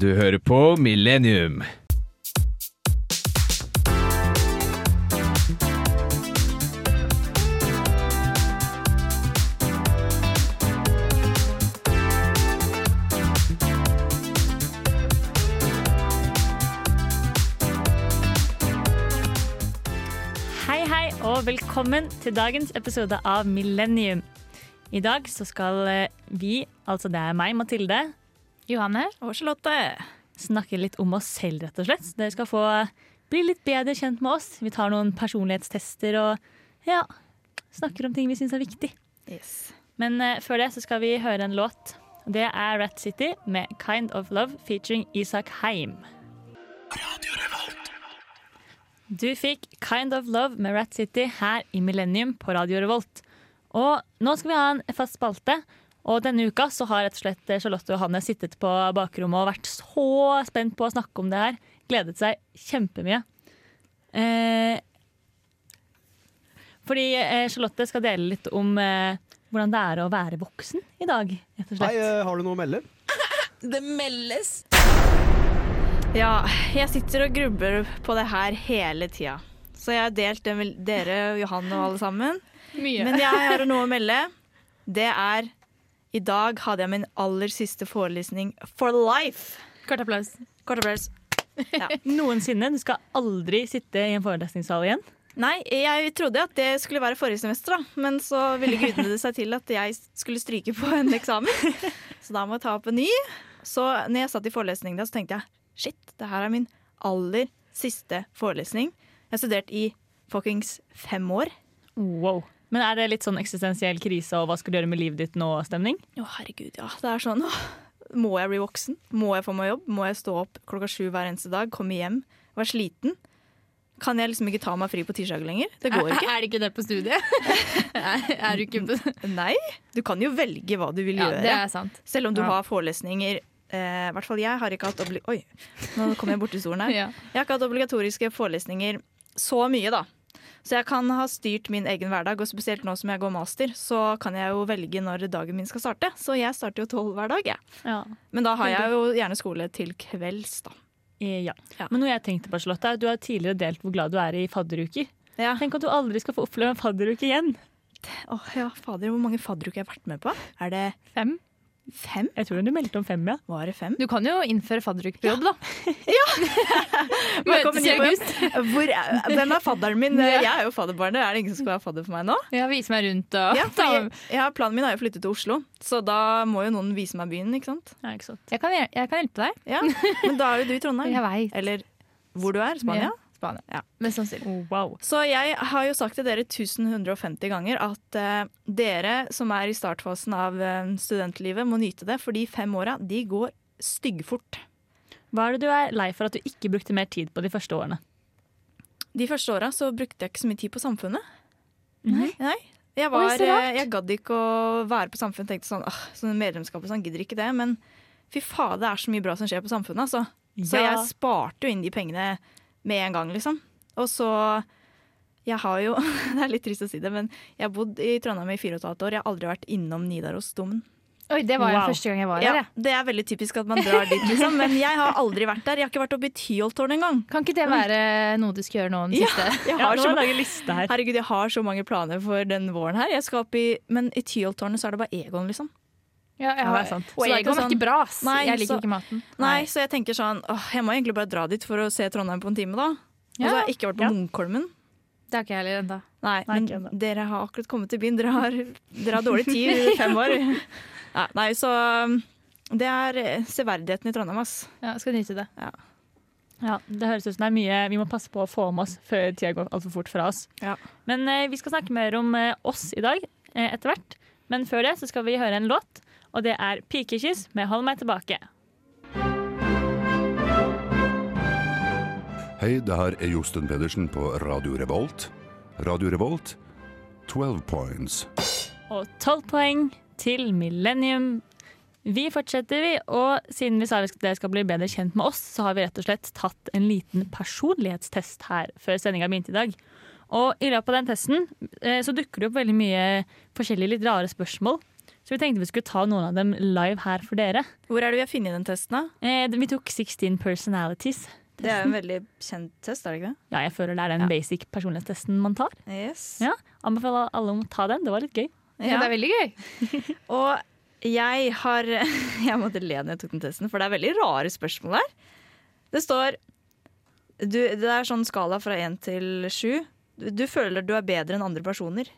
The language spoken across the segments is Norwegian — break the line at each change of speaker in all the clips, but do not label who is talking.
Du hører på Millennium.
Hei, hei, og velkommen til dagens episode av Millennium. I dag så skal eh, vi, altså det er meg, Mathilde,
Johanne og Charlotte.
snakke litt om oss selv, rett og slett. Så Dere skal få bli litt bedre kjent med oss. Vi tar noen personlighetstester og ja, snakker om ting vi syns er viktig. Men eh, før det så skal vi høre en låt. Det er Rat City med 'Kind of Love' featuring Isak Heim. Du fikk 'Kind of Love' med Rat City her i Millennium på Radio Revolt. Og nå skal vi ha en fast spalte. Og denne uka så har rett og slett eh, Charlotte og Johanne sittet på bakrommet og vært så spent på å snakke om det her. Gledet seg kjempemye. Eh, fordi eh, Charlotte skal dele litt om eh, hvordan det er å være voksen i dag, rett og
Hei,
slett.
eh, har du noe å melde?
Det meldes.
Ja, jeg sitter og grubler på det her hele tida. Så jeg har delt det med dere, Johanne og alle sammen. Men jeg har noe å melde. Det er I dag hadde jeg min aller siste forelesning for life.
Kort applaus.
Kort applaus.
Noensinne. Du skal aldri sitte i en forelesningssal igjen.
Nei, jeg trodde at det skulle være forrige semester, da. Men så ville gudene det seg til at jeg skulle stryke på en eksamen. Så da må jeg ta opp en ny. Så når jeg satt i forelesning der, så tenkte jeg shit, det her er min aller siste forelesning. Jeg har studert i fuckings fem år.
Wow. Men er det litt sånn eksistensiell krise og hva skal du gjøre med livet ditt nå-stemning?
Å, herregud, ja. Det er sånn, åh. Må jeg bli voksen? Må jeg få meg jobb? Må jeg stå opp klokka sju hver eneste dag? Komme hjem? Være sliten? Kan jeg liksom ikke ta meg fri på tirsdag lenger? Det går ikke.
Er det ikke det på studiet? er, er du ikke på
Nei. Du kan jo velge hva du vil
Ja,
gjøre.
det er sant.
Selv om du
Ja.
har forelesninger eh, I hvert fall jeg har ikke hatt obli Oi, nå kom jeg borti stolen her.
Ja.
Jeg har ikke hatt obligatoriske forelesninger så mye, da. Så jeg kan ha styrt min egen hverdag, og spesielt nå som jeg går master, så kan jeg jo velge når dagen min skal starte. Så jeg starter jo tolv hver dag, jeg.
Ja.
Men da har jeg jo gjerne skole til kvelds, da.
Eh, Ja.
Ja.
Men noe jeg tenkte på, Charlotte, er at du har tidligere delt hvor glad du er i fadderuker.
Ja.
Tenk at du aldri skal få oppleve en fadderuke igjen.
Åh, ja, fader, hvor mange fadderuker jeg har vært med på? Er det
Fem.
fem?
Jeg tror du meldte om fem, ja.
Var det fem?
Du kan jo innføre fadderuk på jobb, da. Ja!
Velkommen
Møtes
hit
i
på jobb.
august.
Hvor er, hvem er fadderen min?
Ja.
Jeg er jo fadderbarnet. Er det ingen som skal være fadder for meg nå?
Ja, Vise meg rundt og
Ja,
ta
fordi, ja, planen min er jo å flytte til Oslo, så da må jo noen vise meg byen, ikke sant?
ja ikke sant?
jeg kan, hjel- jeg kan hjelpe deg.
Ja, Men da er jo du i
Jeg
Trondheim.
veit.
Eller hvor du er, Spania.
Spania. sånn
Ja.
Mest sannsynlig.
Oh, wow.
Så jeg har jo sagt til dere 1150 ganger at eh, dere som er i startfasen av eh, studentlivet, må nyte det, for de fem åra, de går styggfort.
Hva er det du er lei for at du ikke brukte mer tid på de første årene?
De første åra så brukte jeg ikke så mye tid på samfunnet.
Nei.
Nei. Jeg,
Oi,
var,
så rart.
eh, jeg gadd ikke å være på samfunnet. Tenkte sånn, åh, sånn medlemskap og sånn, gidder ikke det. Men fy faen, det er så mye bra som skjer på samfunnet, altså. Så
Ja.
jeg sparte jo inn de pengene med en gang, liksom. Og så Jeg har jo Det er litt trist å si det, men jeg har bodd i Trondheim i fire og et halvt år. Jeg har aldri vært innom Nidarosdomen.
Oi, det var jo
Wow.
første gang jeg var her.
Ja,
jeg.
det er veldig typisk at man drar dit, liksom. Men jeg har aldri vært der. Jeg har ikke vært oppe i Tyholttårnet engang.
Kan ikke det være noe du skal gjøre nå den
Ja.
siste?
Jeg
Ja,
har
nå
så
må jeg lage liste her.
Herregud, jeg har så mange planer for den våren her. Jeg skal opp i, men i Tyholttårnet så er det bare Egon, liksom.
Ja, jeg
Ja,
har-
det er sant.
Og
Så det er ikke
Egon er
sånn-
ikke bra, ass.
Nei,
jeg liker
så-
ikke maten.
Nei, så jeg tenker sånn åh, Jeg må egentlig bare dra dit for å se Trondheim på en time, da. Og
Ja.
så har jeg ikke vært på
Ja.
Munkholmen.
Det har ikke jeg heller ennå.
Nei,
Nei,
men
ikke ennå.
dere har akkurat kommet til byen. Dere har, dere har dårlig tid i fem år. Ja, nei, så um, Det er eh, severdigheten i Trondheim, ass.
Ja, skal nyte det.
Ja, det høres ut som det er mye vi må passe på å få med oss før tida går altfor fort fra oss.
Ja.
Men eh, vi skal snakke mer om eh, oss i dag eh, etter hvert. Men før det så skal vi høre en låt, og det er 'Pikekyss' med 'Hold meg tilbake'.
Hei, det her er Josten Pedersen på Radio Revolt. Radio Revolt, 12 points.
Og tolv poeng til Millennium. Vi fortsetter, vi. Og siden vi sa vi- dere skal bli bedre kjent med oss, så har vi rett og slett tatt en liten personlighetstest her før sendinga begynte i dag. Og i løpet av den testen eh, så dukker det opp veldig mye forskjellige litt rare spørsmål. Så vi tenkte vi skulle ta noen av dem live her for dere.
Hvor er det vi har funnet den testen, da?
Eh, vi tok 16 personalities.
Det er jo en veldig kjent test, er det ikke det?
Ja, jeg føler det er den
Ja.
basic personlighetstesten man tar.
Yes.
Ja. Anbefaler alle om å ta den. Det var litt gøy.
Ja. Det er veldig gøy.
Og jeg har Jeg måtte le når jeg tok den testen, for det er veldig rare spørsmål der. Det står du, Det er sånn skala fra én til sju. Du, du føler du er bedre enn andre personer.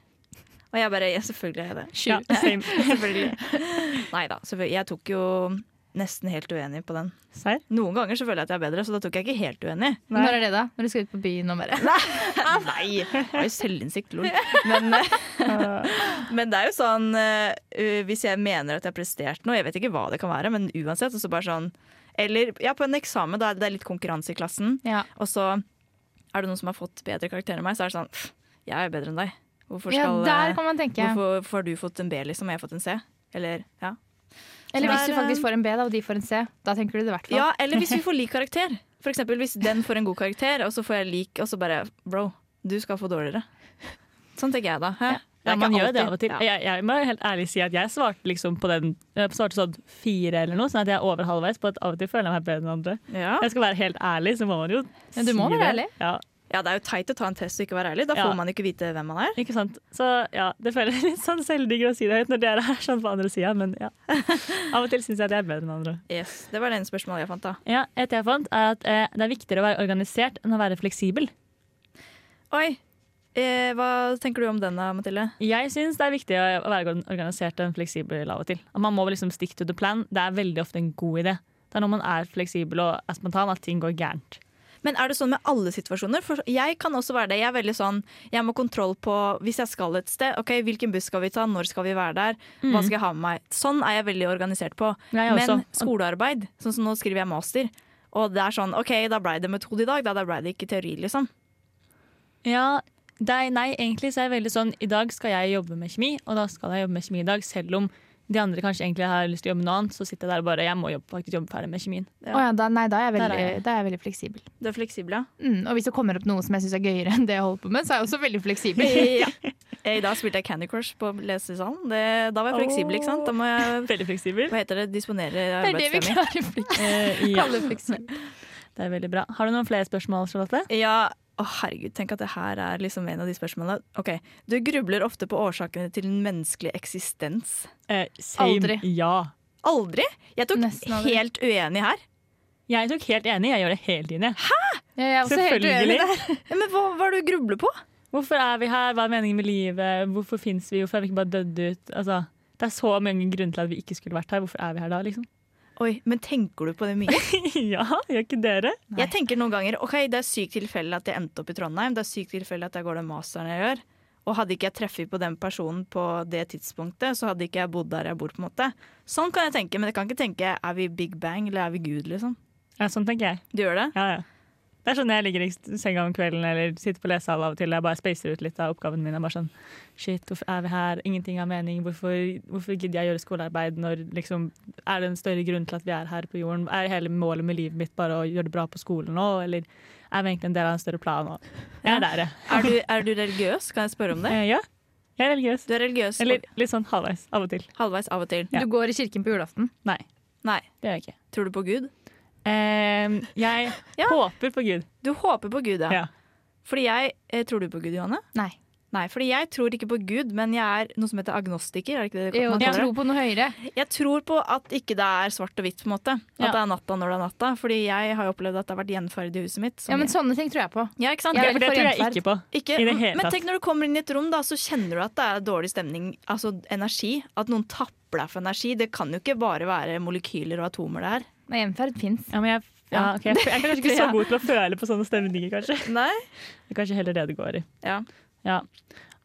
Og jeg bare Ja, selvfølgelig er jeg det.
Ja, same.
Nei da. selvfølgelig. Jeg tok jo nesten helt uenig på den.
Serr?
Noen ganger så føler jeg at jeg er bedre, så da tok jeg ikke helt uenig.
Når er det, da? Når du skal ut på byen og bare
Nei! Jeg har jo selvinnsikt, lol. Men, eh, men det er jo sånn eh, uh, Hvis jeg mener at jeg har prestert noe, jeg vet ikke hva det kan være, men uansett, og så bare sånn Eller ja, på en eksamen, da er det litt konkurranse i klassen,
ja.
og så er det noen som har fått bedre karakter enn meg, så er det sånn pff, Jeg er jo bedre enn deg. Hvorfor
ja,
skal eh,
der kan man tenke.
hvorfor, hvorfor har du fått en B, liksom, og jeg har fått en C? Eller ja.
Eller hvis
Så
du
der,
faktisk får en B da, og de får en C. Da tenker du det i hvert fall.
ja, eller hvis vi får lik karakter. For eksempel hvis den får en god karakter, og så får jeg lik, og så bare Bro, du skal få dårligere. Sånn tenker jeg da. Hæ?
Ja,
Det er
man
ikke
gjør jo det av og
alltid-
til.
Ja.
Jeg, jeg må helt ærlig si at jeg svarte liksom på den jeg svarte sånn fire eller noe, sånn at jeg er over halvveis på at av og til føler jeg meg bedre enn andre.
Ja.
Jeg skal være helt ærlig, så må man jo
Ja, du må
si
være
det.
ærlig.
Ja,
ja, det er jo teit å ta en test og ikke være ærlig. Da
Ja.
får man jo ikke vite hvem man er.
ikke sant. Så ja, det føles litt sånn selvdigg å si det høyt når dere er sånn på andre sida, men ja. Av og til syns jeg at jeg er bedre enn andre.
Yes, Det var det ene spørsmålet jeg fant, da.
Ja, Et jeg fant, er at eh, det er viktigere å være organisert enn å være fleksibel.
Oi, eh, hva tenker du om den da, Mathilde?
Jeg syns det er viktig å å være organisert enn fleksibel av og til. At man må liksom stick to the plan. Det er veldig ofte en god idé. Det er når man er fleksibel og er spontan at ting går gærent.
Men er det sånn med alle situasjoner? For jeg kan også være det. Jeg er veldig sånn, jeg må ha kontroll på hvis jeg skal et sted. ok, Hvilken buss skal vi ta, når skal vi være der, hva
Mm.
skal jeg ha med meg? Sånn er jeg veldig organisert på.
Jeg også.
Men skolearbeid, sånn som nå skriver jeg master, og det er sånn OK, da blei det metode i dag, da, da blei det ikke teori, liksom.
Ja, nei, nei, egentlig så er jeg veldig sånn I dag skal jeg jobbe med kjemi, og da skal jeg jobbe med kjemi i dag. Selv om de andre kanskje egentlig har lyst til å jobbe med noe annet, så sitter jeg der og bare Jeg må jobbe, faktisk jobbe ferdig med kjemien.
Å ja, da, nei, da er jeg
Der er
veldig,
jeg.
da er jeg veldig fleksibel.
Du er fleksibel, ja.
Mm, og hvis det kommer opp noe som jeg syns er gøyere enn det jeg holder på med, så er jeg også veldig fleksibel.
ja. Eh, I dag spilte jeg Candy Crush på lesesalen. Det, da var jeg fleksibel, ikke sant? Da må jeg
Veldig fleksibel.
hva heter det, disponere
Det er det vi
arbeidstida mi.
klarer. fleks-
Eh, ja,
kaller fleksibel.
det er veldig bra. Har du noen flere spørsmål, Charlotte?
Ja, å herregud, tenk at det her er liksom en av de spørsmålene. Ok, Du grubler ofte på årsakene til den menneskelige eksistens.
Eh, same.
Aldri.
Ja.
Aldri! Jeg tok
Nesten aldri.
helt uenig her.
Jeg tok helt enig, jeg gjør det hele tiden. jeg.
Ja, jeg er også helt uenig der.
Ja, Men hva var det du grubler på?
Hvorfor er vi her, hva er meningen med livet, hvorfor fins vi, hvorfor er vi ikke bare dødd ut? Altså, det er så mange grunner til at vi ikke skulle vært her, hvorfor er vi her da, liksom?
Oi, men tenker du på det mye?
ja, gjør ikke dere?
Jeg tenker noen ganger ok, det er sykt tilfeldig at jeg endte opp i Trondheim. Det er sykt tilfeldig at jeg går den masteren jeg gjør. Og hadde ikke jeg treffet på den personen på det tidspunktet, så hadde ikke jeg bodd der jeg bor. på en måte. Sånn kan jeg tenke, men jeg kan ikke tenke er vi Big Bang eller er vi Gud, liksom.
Ja, sånn tenker jeg.
Du gjør det?
Ja, ja. Det er sånn jeg ligger i senga om kvelden eller sitter på lesesal av og til. Jeg bare spacer ut litt av oppgaven min. Jeg er bare sånn, shit, hvorfor er vi her? Ingenting har mening. Hvorfor, hvorfor gidder jeg gjøre skolearbeid når liksom, er det en større grunn til at vi er her på jorden? Er hele målet med livet mitt bare å gjøre det bra på skolen nå, eller er vi egentlig en del av en større plan nå? Jeg er der, jeg.
Er du, er du religiøs? Kan jeg spørre om det?
Eh, ja, jeg er religiøs.
Du er religiøs
Eller litt sånn halvveis av og til.
halvveis av og til.
Ja.
Du går i kirken på julaften.
Nei,
Nei.
det gjør jeg ikke.
Tror du på Gud?
Eh, jeg
Ja.
håper på Gud.
Du håper på Gud, ja.
Ja.
Fordi jeg eh, Tror du på Gud, Johanne?
Nei.
Nei, fordi jeg tror ikke på Gud, men jeg er noe som heter agnostiker. Er det ikke det
Jo,
man
du
kaller det?
tror på noe høyere.
Jeg tror på at ikke det er svart og hvitt, på en måte. At
Ja.
det er natta når det er natta. Fordi jeg har jo opplevd at det har vært gjenferd i huset mitt. som
Ja, men
jeg-
sånne ting tror jeg på.
ja, ikke sant?
Jeg
For det
for
tror jeg
gjenferd.
ikke på.
Ikke,
i det hele
men
tatt.
tenk når du kommer inn i et rom, da, så kjenner du at det er dårlig stemning. Altså energi. At noen tapper deg for energi. Det kan jo ikke bare være molekyler og atomer det her.
Nei, hjemferd fins.
Ja, men jeg, ja,
Ja.
ok. jeg er kanskje ikke så god til å føle på sånne stemninger, kanskje.
Nei?
Det er kanskje heller det det går i.
Ja.
Ja.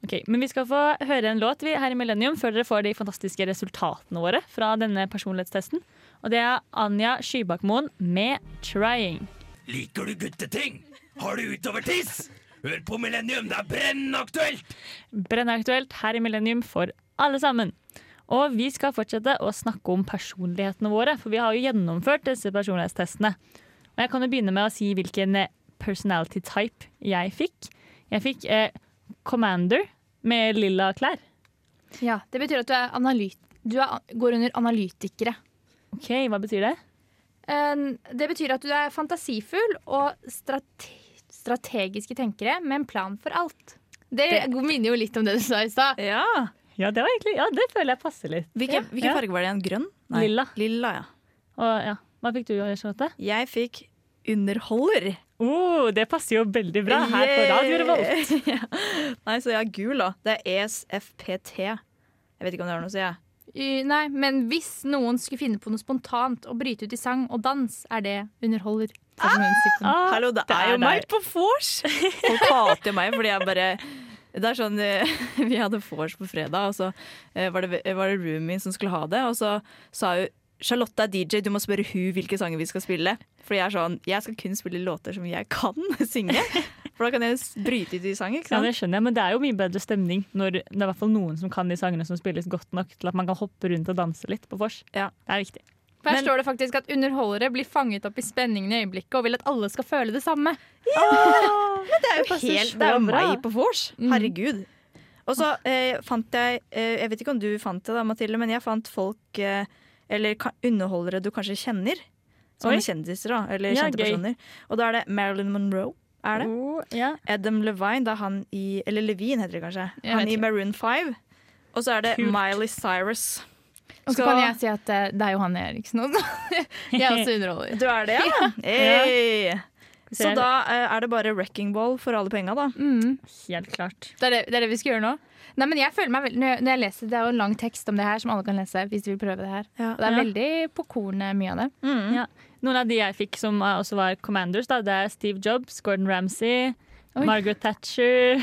Ok, Men vi skal få høre en låt vi her i Millennium før dere får de fantastiske resultatene våre fra denne personlighetstesten. Og det er Anja Skybakmoen med 'Trying'.
Liker du gutteting? Har du utovertiss? Hør på Millennium, det er brennaktuelt!
Brennaktuelt her i Millennium for alle sammen. Og vi skal fortsette å snakke om personlighetene våre, for vi har jo gjennomført disse personlighetstestene. Og jeg kan jo begynne med å si hvilken eh, personality type jeg fikk. Jeg fikk eh, Commander med lilla klær.
Ja, det betyr at du er analyt Du er, går under analytikere.
Ok, Hva betyr det?
Eh, Det betyr at du er fantasifull og strate strategiske tenkere med en plan for alt. Det minner jo litt om det du sa i stad.
Ja.
Ja, det, var egentlig, ja, det føler jeg passer litt.
Hvilken, hvilken
Ja.
farge var det igjen? Grønn?
Lilla.
Lilla, ja.
Og, ja. Hva fikk du, Charlotte?
Jeg fikk underholder.
Oh, det passer jo veldig bra her på
Yeah.
Radio Revolt.
Nei, så jeg har gul, da. Det er E ESFPT. Jeg vet ikke om det har noe å si, jeg.
Y- Nei, men hvis noen skulle finne på noe spontant og bryte ut i sang og dans, er det underholder. for kommunesektoren.
Ah,
Hallo, det, er jo
der.
meg på vors! Folk hater meg fordi jeg bare Det er sånn eh, Vi hadde vors på fredag, og så eh, var det, var det roomien min som skulle ha det, og så sa hun Charlotte er DJ, du må spørre hun hvilke sanger vi skal spille. Fordi jeg er sånn, jeg skal kun spille låter som jeg kan synge. For da kan jeg s- bryte ut i sang, ikke
Ja,
sant?
det skjønner jeg, men det er jo mye bedre stemning når det er i hvert fall noen som kan de sangene som spilles godt nok til at man kan hoppe rundt og danse litt på vors.
Ja.
Det er viktig.
For her
Men-
står det faktisk at underholdere blir fanget opp i spenningen i øyeblikket og vil at alle skal føle det samme.
det er jo
passer
helt
så
Det er jo
bra.
meg på vors. Herregud. Og så eh, fant jeg eh, Jeg vet ikke om du fant det, da, Mathilde, men jeg fant folk eh, Eller ka underholdere du kanskje kjenner.
Oi.
Sånne kjendiser, da. Eller
Ja,
kjente
gøy.
personer. Og da er det Marilyn Monroe. Er det?
Oh, ja.
Adam Levine, da han i Eller Levine heter det kanskje.
Jeg
Han
vet
i
ikke.
Maroon 5. Og så er det
Kult.
Miley Cyrus.
Og så
Skal-
kan jeg si at eh, det er jo han jeg er, ikke sant? Jeg er også underholder.
Du er det, ja? Hey. Så
Ser-
da eh, er det bare Wrecking Ball for alle penga, da.
Mm.
Helt klart.
Det er det, det er det vi skal gjøre nå. Nei, men jeg føler meg veldig, når jeg- når jeg leser, Det er jo en lang tekst om det her, som alle kan lese hvis de vil prøve det her.
Ja.
Og det er
Ja.
veldig på kornet, mye av det.
Mm.
Ja. Noen av de jeg fikk som eh, også var commanders, da, det er Steve Jobs, Gordon Ramsay,
Oi.
Margaret Thatcher,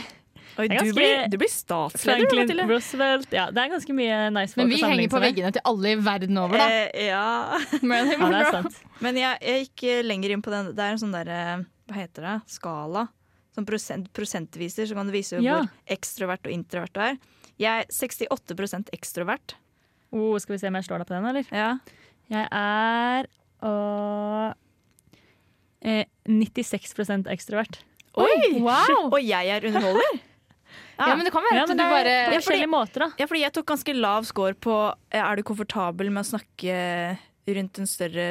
Oi,
Det er
du
ganske-
blir, du blir statsleder,
Franklin
Mathilde.
Roosevelt. Ja, det er ganske mye nice folk
Men vi
å sammenligne
henger på
seg med.
veggene til alle i verden over, da.
Eh, ja.
Marilyn
Ja, det er
Monroe.
sant.
Men jeg, jeg gikk eh, lenger inn på den. Det er en sånn der, eh, hva heter det, skala. Sånn prosent, prosentviser, så kan du vise
Ja.
hvor ekstrovert og introvert du er. Jeg er 68 ekstrovert.
Oh, skal vi se om jeg slår deg på den, eller?
Ja.
Jeg er å, eh, 96 ekstrovert.
Oi!
Wow!
Og jeg er underholder?
Ja, men det kan være
Ja,
at
men
du
det er på
bare
forskjellige måter, da.
Ja, fordi jeg tok ganske lav score på eh, er du komfortabel med å snakke rundt en større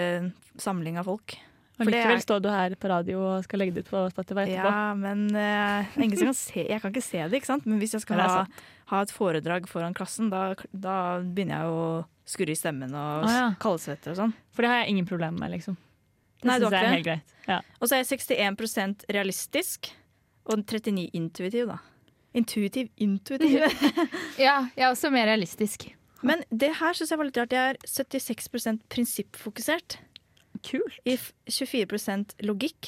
samling av folk.
Og
For det
likevel
er-
står du her på radio og skal legge det ut på Spotify etterpå.
Ja, men eh, det er ingen som kan se, jeg kan ikke se det, ikke sant? Men hvis jeg skal
Ja, det er
ha, ha et foredrag foran klassen, da, da begynner jeg å skurre i stemmen og
Å, ja.
kaldsvetter og sånn.
For det har jeg ingen problemer med, liksom. Det
Nei, du
synes
har
jeg er
ikke
helt greit. Ja.
Og så er jeg 61 realistisk, og 39 intuitiv, da. Intuitiv, intuitiv.
Ja, jeg er også mer realistisk.
Men det her syns jeg var litt rart. Jeg er 76 prinsippfokusert.
Kult.
I f- 24 logikk.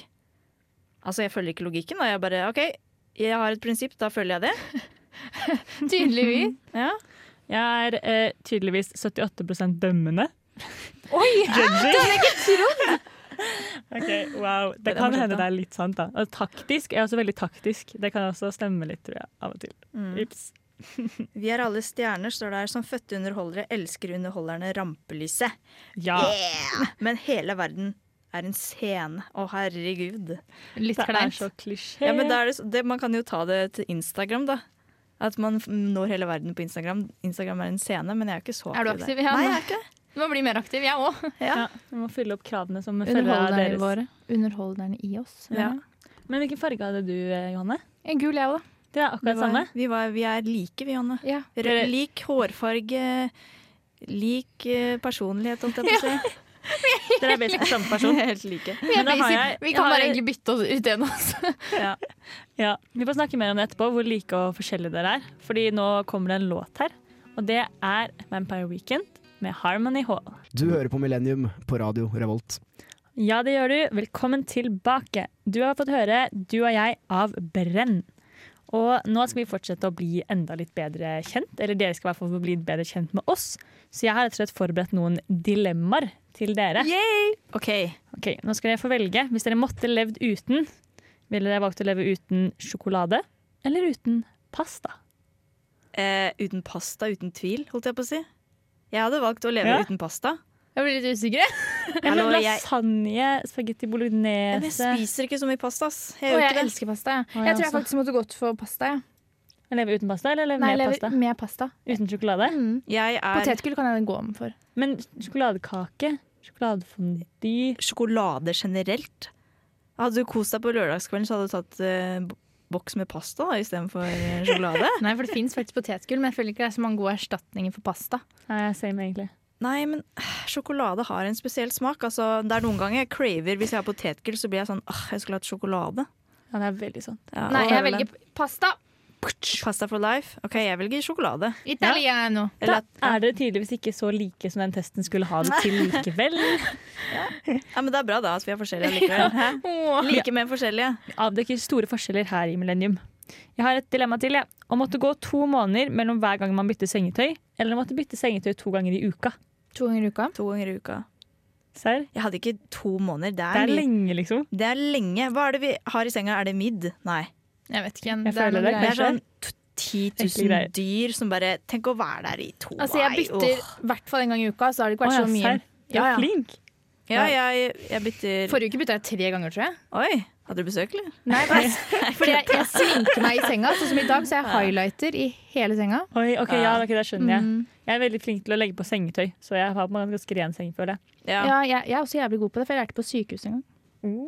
Altså, jeg følger ikke logikken, da. Jeg bare OK, jeg har et prinsipp, da følger jeg det.
Tydeligvis.
Ja.
Jeg er eh, tydeligvis 78 dømmende.
Oi!
Ok, wow. Det
er
kan
morsomt,
hende
da.
det er litt sant, da. Og taktisk. Jeg er også veldig taktisk. Det kan også stemme litt, tror jeg, av og til.
Mm.
Ups.
Vi er alle stjerner, står det her. Som fødte underholdere elsker underholderne rampelyset.
Ja.
Men hele verden er en scene. Å, herregud.
Litt
Det er
kleint.
så klisjé.
Ja, men da er det, så- det, man kan jo ta det til Instagram, da. At man f- når hele verden på Instagram. Instagram er en scene, men jeg er jo ikke så
Er du
aktiv der.
aktiv? Ja,
Nei, jeg er ikke det.
Du må bli mer aktiv, jeg òg.
Ja, vi må fylle opp kravene som følger av
Underholderne
deres.
våre. Underholderne i oss.
Ja.
Men hvilken farge hadde du, eh, Johanne?
En gul, jeg òg, da.
Det er akkurat
Vi, var,
samme.
vi, var, vi er like, vi, Anne.
Ja.
R
Dere-
lik hårfarge, lik eh, personlighet, holdt jeg på å si.
Dere er basic samme person.
Helt like.
Vi, er
Men da har
basic.
jeg-
vi
jeg
kan
har-
bare egentlig bytte oss ut igjen. Altså.
Ja.
Ja, Vi får snakke mer om det etterpå, hvor like og forskjellige dere er. Fordi nå kommer det en låt her, og det er Vampire Weekend med Harmony Hall.
Du hører på Millennium på radio Revolt.
Ja, det gjør du. Velkommen tilbake. Du har fått høre 'Du og jeg' av Brenn. Og nå skal vi fortsette å bli enda litt bedre kjent. Eller dere skal i hvert fall få bli bedre kjent med oss. Så jeg har rett og slett forberedt noen dilemmaer til dere.
OK.
Ok, Nå skal dere få velge. Hvis dere måtte levd uten, ville dere valgt å leve uten sjokolade eller uten pasta?
Eh, uten pasta, uten tvil, holdt jeg på å si. Jeg hadde valgt å leve
Ja.
uten pasta.
Jeg blir litt usikker.
Eller
Hallo, jeg-
lasagne, spagetti
Men jeg
bolognese
spiser ikke så mye pasta, ass. Jeg
Og
gjør
jeg
ikke det.
elsker pasta. Jeg,
jeg
tror jeg
også.
faktisk måtte gått for pasta. jeg.
Leve uten pasta eller leve
Nei,
med
lever
pasta?
altså. med pasta.
Uten sjokolade?
Mm.
Jeg er
Potetgull kan jeg gå om for.
Men sjokoladekake? Sjokoladefondy?
sjokolade generelt. Hadde du kost deg på lørdagskvelden, så hadde du tatt eh, bo- boks med pasta da, istedenfor eh, sjokolade.
Nei, for det fins faktisk potetgull, men jeg føler ikke det er så mange gode erstatninger for pasta.
Nei, jeg ser meg egentlig.
Nei, men eh, sjokolade har en spesiell smak. Altså, det er noen ganger jeg craver Hvis jeg har potetgull, så blir jeg sånn åh, jeg skulle hatt sjokolade.
Ja, det er veldig sånn.
Ja,
Nei,
og
jeg
høvelen.
velger pasta.
Pasta for life. OK, jeg velger sjokolade.
Italiano.
Da
Eller at,
er dere tydeligvis ikke så like som den testen skulle ha det til likevel.
ja, men det er bra da at vi er forskjellige likevel. Hæ?
Åh.
Like mer forskjellige.
avdekker store forskjeller her i Millennium. Jeg har et dilemma til. Jeg. Å måtte gå to måneder mellom hver gang man bytter sengetøy, eller å måtte bytte sengetøy to ganger i uka.
To ganger i uka.
To ganger i uka.
Serr?
Jeg hadde ikke to måneder.
Det
Det er,
er
mye-
lenge, liksom.
det er lenge. Hva er det vi har i senga? Er det midd? Nei.
Jeg vet ikke.
Jeg føler
noen
det,
greier.
Det
kanskje.
er sånn t- 10
Ekle greier.
000 dyr som bare Tenk å være der i to
Altså, jeg
Nei,
bytter i
åh.
hvert fall en gang i uka, så har det ikke
Å,
vært
ja,
så mye.
serr? Du er
Ja, ja.
flink.
Ja, jeg, jeg bytter
Forrige uke bytta jeg tre ganger, tror jeg.
Oi, hadde du besøk, eller?
Nei, fordi jeg, jeg sminker meg i senga, sånn som i dag, så jeg har highlighter i hele senga.
Oi, ok, ja, ok, Det skjønner jeg.
Mm.
Jeg er veldig flink til å legge på sengetøy, så jeg har på meg en ganske ren seng, føler jeg.
Ja,
Ja, jeg, jeg er også jævlig god på det, for jeg lærte på sykehuset en gang.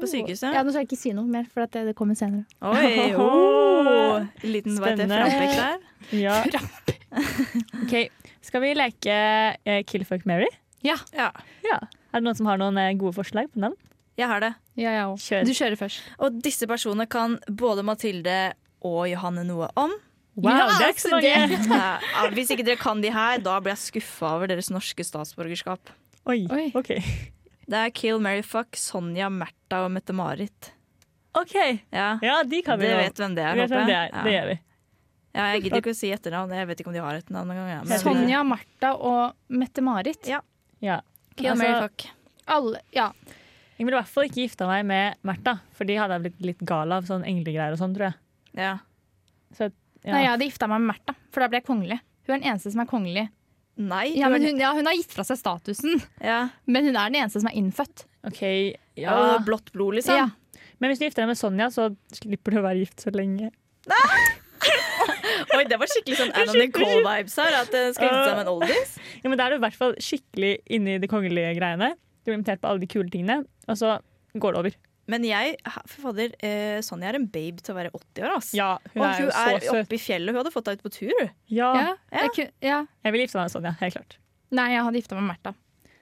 På sykehuset?
Ja, nå skal jeg ikke si noe mer, for at det, det kommer senere.
Oi, oh. Liten hva heter det,
Spennende.
frampek der.
Ja. Ok, Skal vi leke eh, Kill fuck Mary?
Ja,
Ja. Er det noen som har noen eh, gode forslag på navn?
jeg har det.
Ja, jeg også.
Kjør.
Du kjører først.
Og disse personene kan både Mathilde og Johanne noe om.
Wow,
Ja,
det er ikke så
altså, det-
mange!
Ja, hvis ikke dere kan de her, da blir jeg skuffa over deres norske statsborgerskap.
Oi,
Oi.
ok.
Det er Kill, Mary, Fuck, Sonja, Märtha og Mette-Marit.
Ok,
Ja,
Ja, de kan vi
Dere
nå.
vet hvem det
Vi
er,
vet
håper
hvem
jeg.
det er. Det
Ja.
gjør vi.
Ja, jeg gidder ikke å si etternavn. Jeg vet ikke om de har et navn engang. ja, men- Altså,
Sonja, Martha og Mette-Marit.
Ja.
Ja.
Kill,
Altså,
Mary, Fuck.
Alle, ja.
Jeg ville i hvert fall ikke gifta meg med Märtha, for de hadde jeg blitt litt gal av. Sånn englegreier og sånn, tror jeg.
Ja.
Ja.
Nei, jeg hadde gifta meg med Märtha, for da ble jeg kongelig. Hun er den eneste som er kongelig.
Nei.
Ja, men hun, ja, hun har gitt fra seg statusen,
ja.
men hun er den eneste som er innfødt.
Ok,
Ja.
ja.
og Blått blod, liksom.
Ja.
Men hvis du gifter deg med Sonja, så slipper du å være gift så lenge.
Oi, det var skikkelig sånn Anna Nicole-vibes her. At det skal gifte seg med en oldies.
Ja, men Da er du i hvert fall skikkelig inne i de kongelige greiene. Du blir invitert på alle de kule tingene, og så går det over.
Men jeg, for fader, eh, Sonja er en babe til å være 80 år, ass.
Ja, hun
Og
er jo
hun
så
er
søt.
oppe i fjellet, hun hadde fått deg ut på tur, hun.
Ja.
Ja, jeg ku- ja.
Jeg ville gifta meg med Sonja, helt klart.
Nei, jeg hadde gifta meg med Märtha.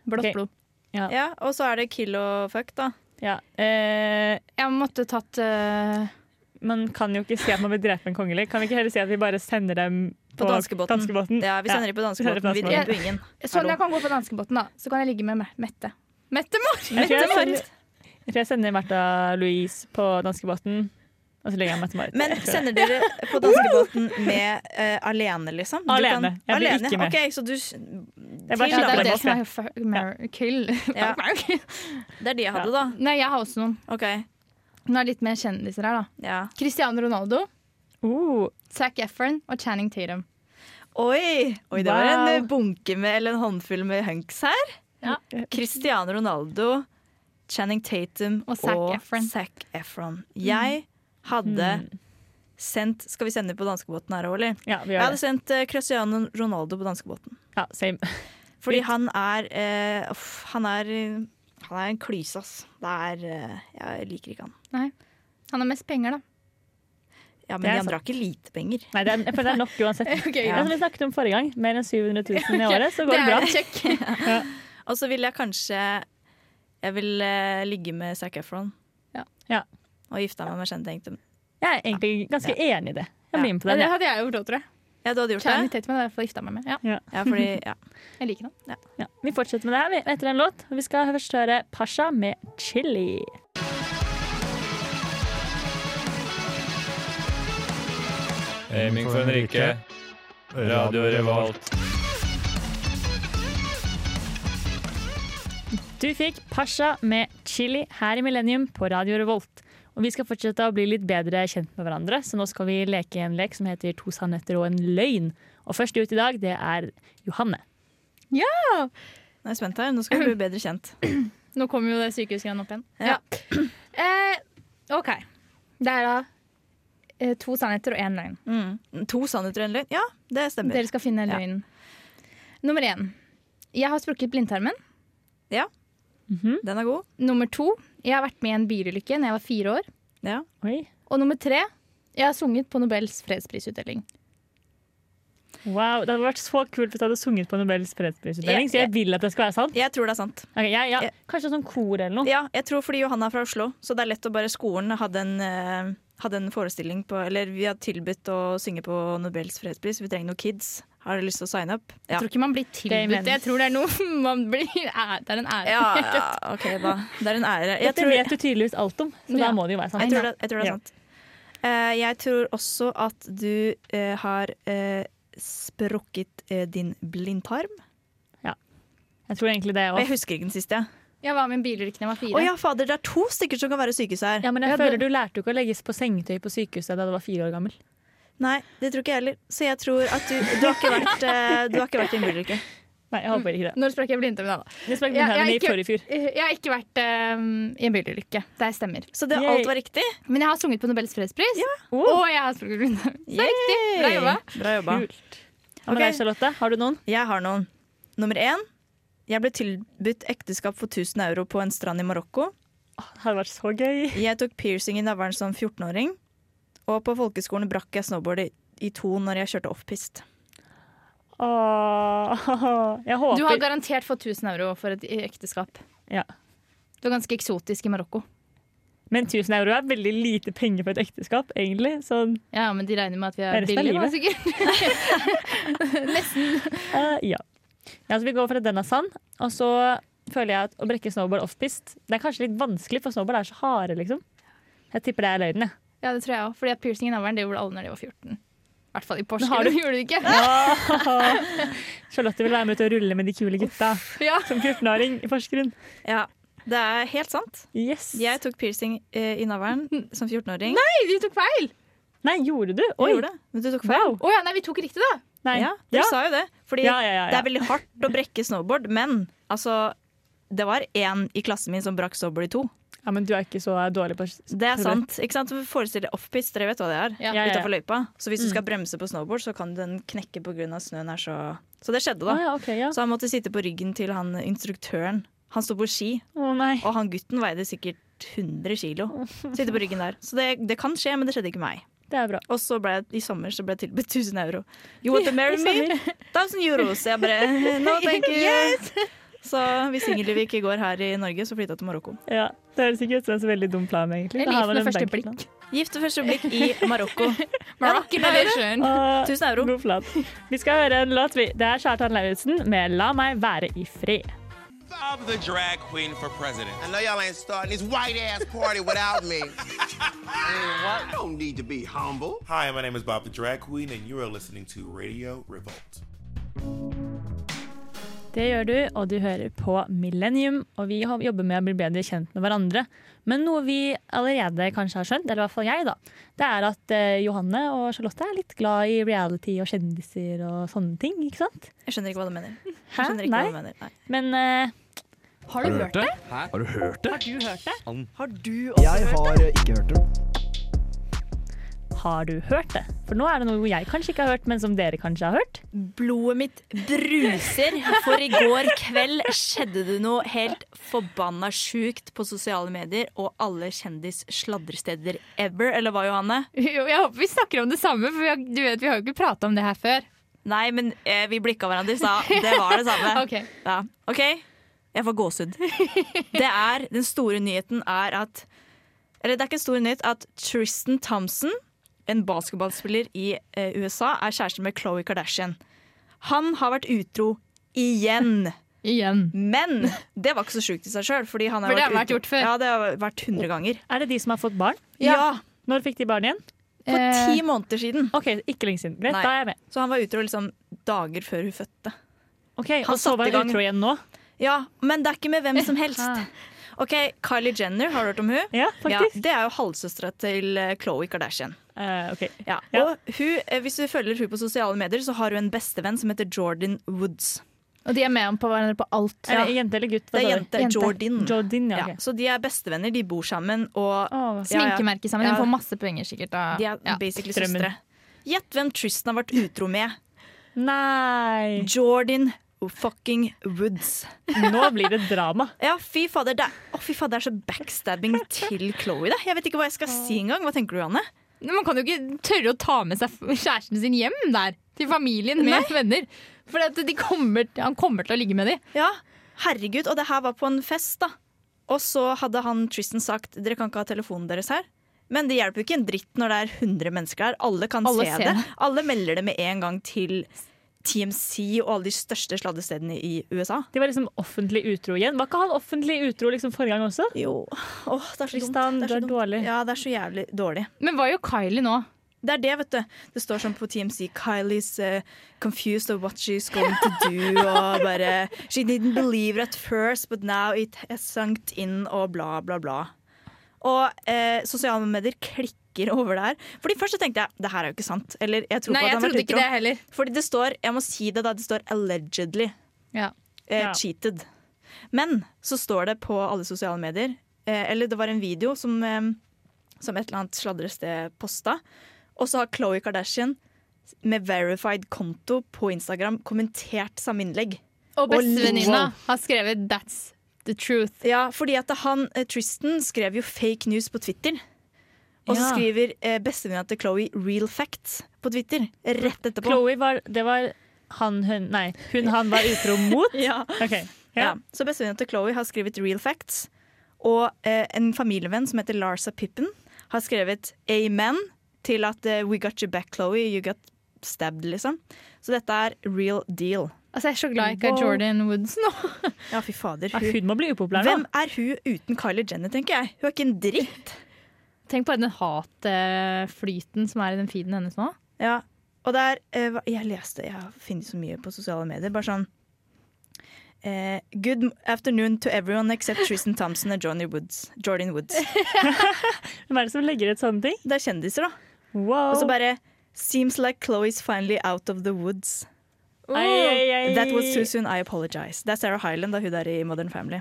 Blått
Ok.
blod.
Ja, og så er det kill og fuck, da.
Ja. Eh,
Jeg måtte tatt eh,
man kan jo ikke si at man vil drepe en kongelig. Kan vi ikke heller si at vi bare sender dem
På danskebåten.
danskebåten?
Ja, Vi sender dem på danskebåten. Vi
Ja.
dreper jo ingen.
Sånn,
Hallo.
jeg kan gå på danskebåten, da. Så kan jeg ligge med Mer- Mette. Mette Marit!
Jeg tror jeg,
Mette
sender, jeg tror jeg sender Märtha Louise på danskebåten, og så legger jeg meg til Marit.
Men
Jeg tror det.
sender dere på danskebåten med eh, alene, liksom? Du
Alene. Jeg blir
alene.
ikke med.
Ok, så du
Jeg bare
Ja, det er jo det
Marit,
som
ja.
er fuck, marry, kill.
Ja. Det er de jeg hadde, da.
Nei, jeg har også noen.
Ok,
Nå er det litt mer kjendiser her, da.
ja.
Cristiano Ronaldo,
Oh,
Zac Efron og Channing Tatum.
Oi! Oi, det var en
Wow.
eh, bunke med, eller en håndfull med hunks her.
Ja.
Cristiano Ronaldo, Channing Tatum
Og Zac Efron.
Zac Efron. Jeg
Mm.
hadde sendt Skal vi sende på danskebåten her òg, eller?
ja, vi
Jeg
Mm. gjør
hadde
det.
sendt eh, Cristiano Ronaldo på danskebåten.
Ja, same.
Fordi han er eh, uff, Han er eh, han er en klyse, ass. Det er, eh, jeg liker ikke han.
Han har mest penger, da.
Ja, Men
Det er
de andre har ikke lite penger.
Nei, det er, jeg føler det er nok uansett.
Ok,
Ja. Som vi snakket om forrige gang, mer enn 700 000 i året, så går
Det
det
er
bra.
en check.
Og så vil jeg kanskje Jeg vil eh, ligge med Zac Efron.
Ja.
Ja.
Og gifte meg med Channing Tatum.
Jeg er egentlig ganske enig i det. Jeg
Ja.
blir med på
Ja,
den.
det
Ja.
hadde jeg gjort òg, tror jeg.
Ja, du hadde gjort
Channing
det?
Tatum hadde jeg i hvert fall gifta meg med. Ja,
Ja, fordi, ja.
jeg liker han.
Ja. Vi fortsetter med det her vi, etter en låt. og Vi skal først høre Pasha med 'Chili'.
Aiming for Henrike. Radio Revolt.
Du fikk Pasha med 'Chili' her i Millennium på Radio Revolt. Og vi skal fortsette å bli litt bedre kjent med hverandre, så nå skal vi leke en lek som heter To sannheter og en løgn. Og først ut i dag, det er Johanne.
Nå er jeg spent her. Nå skal vi bli bedre kjent.
Nå kommer jo det sykehusgreiene opp igjen.
Ja.
Ja. Eh, OK. Det er da eh, to sannheter og én løgn.
Mm. To sannheter og en løgn. Ja, det stemmer.
Dere skal finne
Ja.
løgnen. Nummer én. Jeg har sprukket blindtarmen.
Den er god.
Nummer to. Jeg har vært med i en bilulykke da jeg var fire år.
Ja.
Oi.
Og nummer tre. Jeg har sunget på Nobels fredsprisutdeling.
Wow, Det hadde vært så kult hvis du hadde sunget på Nobels fredsprisutdeling. Så jeg vil at det skal være sant.
Jeg tror det er sant.
Ok, ja, ja.
Ja.
Kanskje sånn kor eller noe.
Ja, jeg tror fordi Johanna er fra Oslo, så det er lett å bare skolen hadde en, eh, hadde en forestilling på Eller vi har tilbudt å synge på Nobels fredspris. Vi trenger noen kids. Har dere lyst til å signe opp? Ja.
Jeg tror ikke man blir
er
tilbudt
imens.
det. Jeg tror det er noe man blir æ- Det er en ære.
Ja, ja, OK, da. Det er en ære. Jeg
Dette
tror,
vet du tydeligvis alt om, så
Ja.
da må det jo være sant.
jeg tror, det, jeg tror det
Ja.
er sant. Eh, jeg tror også at du eh, har eh, sprukket eh, din blindtarm.
Jeg tror egentlig det
Og jeg
også.
husker ikke den siste. jeg.
Jeg var med i en bilulykke da jeg var
Å
fire.
ja, fader, det er to stykker som kan være sykehus her.
Ja, men jeg
Ja, det-
føler du lærte jo ikke å legges på sengetøy på sykehuset da du var fire år gammel.
Nei, det tror ikke jeg heller. Så jeg tror at du Du har ikke vært, eh, du har ikke vært i en bilulykke.
Nei, jeg håper ikke det.
Når sprakk jeg blindtarmen, da?
Jeg sprakk
Ja,
min
jeg
i
ikke-
forrige fjor.
Jeg har ikke vært eh, i en bilulykke. Det stemmer.
Så det,
Yay.
alt var riktig.
Men jeg har sunget på Nobels fredspris.
Oh,
Og jeg har sprukket blindtarmen. Så det er riktig. Bra jobba.
Bra jobba.
kult. Hva med
Ok.
deg, Charlotte? Har du noen?
Jeg har noen. Nummer én. Jeg ble tilbudt ekteskap for 1000 euro på en strand i Marokko.
Det hadde vært så gøy.
Jeg tok piercing i navlen som 14-åring. Og på folkeskolen brakk jeg snowboardet i to når jeg kjørte offpist.
Åh, jeg håper
Du har garantert fått 1000 euro for et ekteskap.
Ja.
Du er ganske eksotisk i Marokko.
Men 1000 euro er veldig lite penger for et ekteskap, egentlig. Sånn,
Ja, men de regner med at vi
Det er
er
resten av
billige, da, sikkert.
eh, ja. ja. Så vi går for at den er sann. Og så føler jeg at å brekke snowboard offpist Det er kanskje litt vanskelig, for snowboard er så harde, liksom. Jeg tipper det er løgnen, jeg.
Ja, det tror jeg også. Fordi at piercing i navlen det gjorde alle når de var 14. I hvert fall i
har
Porsgrunn.
du-
Gjorde du ikke?
Charlotte vil være med ut og rulle med de kule gutta
Ja.
som 14-åring i Porsgrunn.
Ja, Det er helt sant.
Yes.
Jeg tok piercing eh, i navlen som 14-åring.
Nei, vi tok feil!
Nei, gjorde du?
Jeg
Oi!
gjorde det, Men du tok feil.
Wow.
Å ja, nei, vi tok riktig, da.
Nei.
Ja,
ja.
Dere sa jo det. Fordi
Ja, ja, ja, ja.
det er veldig hardt å brekke snowboard, men altså det var én i klassen min som brakk snowboard i to.
ja, men du er ikke så dårlig på
Det er sant. ikke sant? Forestill deg offpist, dere vet hva det er.
Ja.
Ja, ja, ja. Mm.
utenfor løypa. Så hvis du skal bremse på snowboard, så kan den knekke pga. snøen er så Så det skjedde,
Å
da.
ja, ok, ja.
Så han måtte sitte på ryggen til han instruktøren. Han sto på ski,
Å nei.
og han gutten veide sikkert 100 kilo. Sitte på ryggen der. Så det, det kan skje, men det skjedde ikke meg.
Det er bra.
Og så ble jeg, i sommer så ble jeg tilbudt 1000 euro. You want to marry
I
me?
sommer.
1000 euros. Jeg bare No, thank you. Så hvis singellivet ikke går her i Norge, så flytta jeg til Marokko.
Ja, det høres ikke ut som en så veldig dum plan, egentlig.
Jeg
Da har
liker
man
det
en
første
bankplan.
blikk.
Gift ved første blikk i Marokko.
Moroccan edition.
Å,
1000 euro.
God plan. Vi skal høre en låt. vi. Det er Kjartan Lauritzen med 'La meg være i fred'.
I'm the drag queen for president. I know y'all ain't starting this white ass party without me. Don't need to be humble. Hi, my name is Bob the Drag Queen, and you are listening to Radio Revolt.
Det gjør du, og du hører på Millennium. Og vi har- jobber med å bli bedre kjent med hverandre. Men noe vi allerede kanskje har skjønt, eller i hvert fall jeg, da, det er at eh, Johanne og Charlotte er litt glad i reality og kjendiser og sånne ting, ikke sant?
Jeg skjønner ikke hva du mener. Jeg
Hæ?
skjønner ikke
Nei?
hva du mener. Nei.
Men eh,
Har du hørt det? Har du hørt det?
du hørt det?
Har du
Jeg har ikke hørt det.
Har du hørt det? For nå er det noe jeg kanskje ikke har hørt, men som dere kanskje har hørt.
Blodet mitt bruser, for i går kveld skjedde det noe helt forbanna sjukt på sosiale medier og alle kjendis sladresteder ever, eller hva, Johanne?
Jo, jeg håper vi snakker om det samme, for vi har, du vet, vi har jo ikke prata om det her før.
Nei, men eh, vi blikka hverandre og sa det var det samme.
Ok.
Ja. OK, jeg får gåsehud. Det er, Den store nyheten er at Eller det er ikke en stor nyhet at Tristan Thompson, en basketballspiller i eh, USA, er kjæreste med Khloé Kardashian. Han har vært utro igjen.
Igjen.
Men det var ikke så sjukt i seg sjøl. For det har
For det har vært
ute-
gjort før.
Ja, det har vært 100 ganger.
Er det de som har fått barn?
Ja,
Når fikk de barn igjen?
For
eh.
ti måneder siden.
OK, ikke lenge siden. Greit,
Nei.
da er jeg med.
Så han var utro liksom dager før hun fødte.
Ok,
Han
Og så
satte
var
i gang.
utro igjen nå?
Ja, Men det er ikke med hvem som helst. Ok, Kylie Jenner, har du hørt om hun?
Ja,
Ja,
faktisk.
det er jo halvsøstera til Chloé Kardashian.
Eh, ok.
Ja.
Ja.
Og hun, eh, Hvis du følger hun på sosiale medier, så har hun en bestevenn som heter Jordan Woods.
Og de er med om på hverandre på alt.
Er det jente eller gutt? Hva
Det er
sa du?
jente, Jordin.
Jordin, ja,
Ja,
ok.
så de er bestevenner, de bor sammen og
Sminkemerke sammen.
Ja.
Hun får masse penger sikkert av
De er
ja.
basically
Strømmen.
søstre. Gjett hvem Tristan har vært utro med.
Nei
Jordan fucking Woods.
Nå blir det drama.
Ja, fy fader. Det er, å, fy fader, det er så backstabbing til Chloé. Det. Jeg vet ikke hva jeg skal si engang. Hva tenker du, Anne?
Men Man kan jo ikke tørre å ta med seg f- kjæresten sin hjem der, til familien med venner. For at de kommer, han kommer til å ligge med dem.
Ja, herregud. Og det her var på en fest, da. Og så hadde han Tristan sagt dere kan ikke ha telefonen deres her. Men det hjelper jo ikke en dritt når det er 100 mennesker her. Alle kan
Alle
se
ser
det.
det.
Alle melder det med en gang til TMC og alle de største sladdestedene i USA.
De var liksom offentlig utro igjen. Var ikke han offentlig utro liksom forrige gang også?
Jo. Åh, det er så
Tristan,
dumt. Det er,
du
så
er
dumt.
dårlig.
Ja, det er så jævlig dårlig.
Men hva gjør Kylie nå?
Det er det, vet du. Det står sånn på TMC Kylie's eh, confused of what she's going to do. Og bare She didn't believe it at first, but now it has sunk in, og bla, bla, bla. Og eh, sosiale medier klikker over det her. Fordi først så tenkte jeg det her er jo ikke sant. Eller jeg tror på
Nei,
at han
jeg
har
trodde
vært
ikke
utro.
det heller.
Fordi det står, jeg må si det da, det står allegedly
Ja.
eh,
Ja.
cheated. Men så står det på alle sosiale medier, eh, eller det var en video som, eh, som et eller annet sladrested posta, og så har Khloe Kardashian med verified konto på Instagram kommentert samme innlegg.
Og bestevenninna
Wow.
har skrevet 'That's the truth'.
Ja, fordi at han, eh, Tristan skrev jo fake news på Twitter. Og så
Ja.
skriver eh, bestevenninna til Khloe real facts på Twitter rett etterpå.
Chloé var Det var han hun Nei, hun han var utro mot?
Ja.
Ok,
Ja.
ja.
Så bestevenninna til Chloé har skrevet Real Facts. Og eh, en familievenn som heter Larsa Pippen, har skrevet Amen til at eh, We got you back, Chloé. You got stabbed, liksom. Så dette er real deal.
Altså, jeg er så glad jeg ikke er Jordan Woods nå.
Ja, fy fader.
Ja, hun må bli upopulær nå.
Hvem er hun uten Kylie Jenner, tenker jeg? Hun er ikke en dritt.
Tenk på den hatflyten som er i den feeden hennes nå.
Ja, og der eh, hva- Jeg leste, jeg har funnet så mye på sosiale medier. Bare sånn eh, Good afternoon to everyone except Tristan Thompson and Johnny Woods, Jordan Woods.
Hvem er det som legger ut sånne ting?
Det er kjendiser, da.
Wow.
Og så bare Seems like Chloe's finally out of the woods.
Ai, ai, ai.
That was too soon, I apologize. Det er Sarah Hyland, da hun der i Modern Family.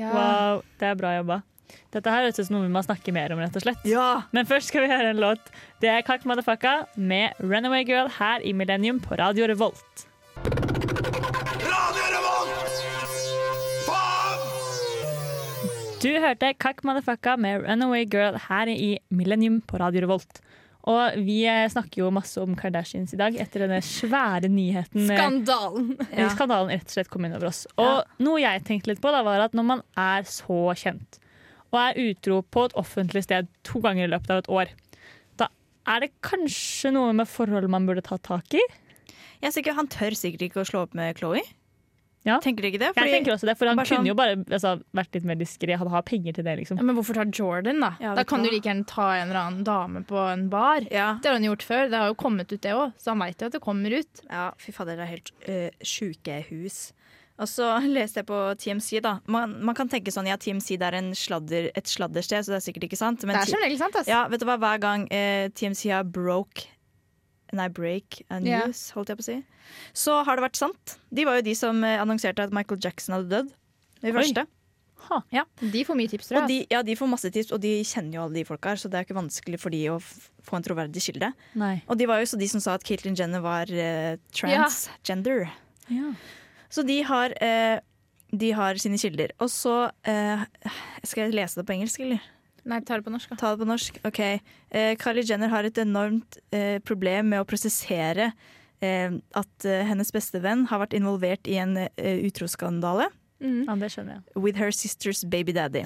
Wow, det er bra jobba. Dette her høres ut som noe vi må snakke mer om, rett og slett. Men først skal vi høre en låt. Det er Kakk Madafaka med 'Runaway Girl' her i Millennium på Radio Revolt.
Radio Revolt! Faen!
Du hørte Kakk Madafaka med 'Runaway Girl' her i Millennium på Radio Revolt. Og vi eh, snakker jo masse om Kardashians i dag etter denne svære nyheten. eh,
Skandalen!
ja. skandalen rett og slett kom inn over oss. Og noe jeg tenkte litt på, da, var at når man er så kjent, og er utro på et offentlig sted to ganger i løpet av et år, da er det kanskje noe med forhold man burde ta tak i?
Jeg er sikker, Han tør sikkert ikke å slå opp med Chloé.
Ja.
Tenker dere ikke det?
jeg tenker også det, for han
bare
kunne
sånn-
jo bare altså, vært litt mer diskré. Han har penger til det, liksom.
Ja, men hvorfor ta Jordan, da?
Ja,
da
vet
kan
du
du
hva?
like gjerne ta en eller annen dame på en bar. Det har han gjort før. Det har jo kommet ut, det òg. Så han veit jo at det kommer ut.
Ja, fy fader, det er helt eh, sjukehus. Og så leste jeg på TMC, da. Man, man kan tenke sånn, ja, TMC det er en sladder, et sladdersted, så det er sikkert ikke sant.
Det er som regel sant, ass.
Ja, vet du hva, hver gang eh, TMC har broke Nei, break a
Ja.
news, holdt jeg på å si. Så har det vært sant. De var jo de som eh, annonserte at Michael Jackson hadde dødd. De første.
Ja, de får mye tips, tror jeg.
Og de, ja, de får masse tips, og de kjenner jo alle de folka her, så det er ikke vanskelig for de å f få en troverdig kilde.
Nei.
Og de var jo så de som sa at Caitlyn Jenner var eh, transgender.
Ja.
Så de har, eh, de har sine kilder. Og så eh, Skal jeg lese det på engelsk, eller?
ass. Nei, ta det på norsk, da.
Ta det på norsk. OK. Eh, Kylie Jenner har et enormt eh, problem med å prosessere eh, at eh, hennes bestevenn har vært involvert i en eh, utroskandale
Ja, det skjønner jeg.
with her sister's baby daddy.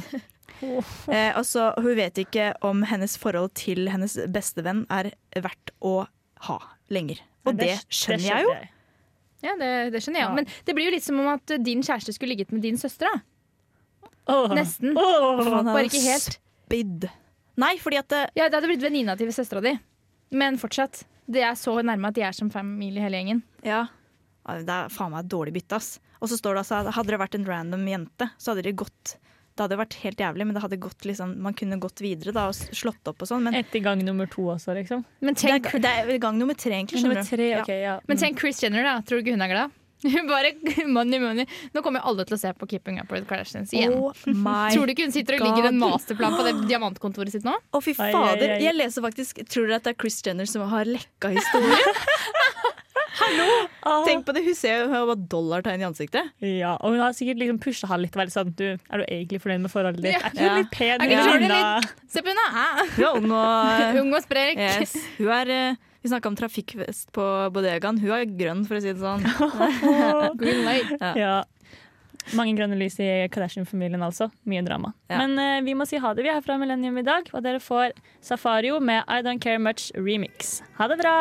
Eh, og så Hun vet ikke om hennes forhold til hennes bestevenn er verdt å ha lenger. Og
Nei,
det, skjønner jeg jo.
Ja, det, det skjønner jeg. Men det blir jo litt som om at din kjæreste skulle ligget med din søster, da.
Åh.
Nesten.
Åh.
Han er
Bare ikke helt.
Spydd. Nei, fordi at eh, det,
Ja, det hadde blitt venninna til søstera di. Men fortsatt. Det er så nærme at de er som familie hele gjengen.
Ja. Ja, Det er faen meg et dårlig bytte, ass. Og så står det altså at hadde det vært en random jente, så hadde det gått Det hadde vært helt jævlig, men det hadde gått liksom Man kunne gått videre da og s- slått opp og sånn, men
Etter gang nummer to også, liksom.
Men
det
Eh, tenk,
er, det er gang nummer tre, egentlig.
Nummer
Skjønner du?
tre, ok, ja.
men tenk Chris Jenner, da. Tror du ikke hun er glad? Hun bare money, money. Nå kommer jo alle til å se på Keeping Up with Kardashians igjen.
Oh my
Tror du ikke hun sitter og ligger i en masterplan på det diamantkontoret sitt nå?
Å, fy
Ai, ai,
fader.
ai.
Jeg leser faktisk Tror dere at det er Chris Jenner som har lekka historien?
Ah.
Hallo! Tenk på det, hun ser jo hun har bare dollartegn i ansiktet.
Ja, og hun har sikkert liksom pusha han litt. Veldig sånn, du, er du egentlig fornøyd med forholdet ditt? Er
Ja.
ikke hun
Ja.
litt pen?
Er ikke
i
hun
kinna?
Se på henne! hæ?
Hun er ung og
Ung og sprek.
yes. Hun er eh, Vi snakka om trafikkvest på bodegaen. Hun er grønn, for å si det sånn.
Green light.
Ja.
ja. Mange grønne lys i Kardashian-familien, altså. Mye drama.
Ja.
Men eh, vi må si ha det. Vi er fra Millennium i dag, og dere får Safario med I Don't Care Much remix. Ha det bra!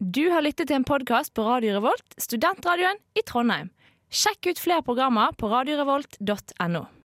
Du har lyttet til en podkast på Radio Revolt, studentradioen i Trondheim. Sjekk ut flere programmer på radiorevolt.no.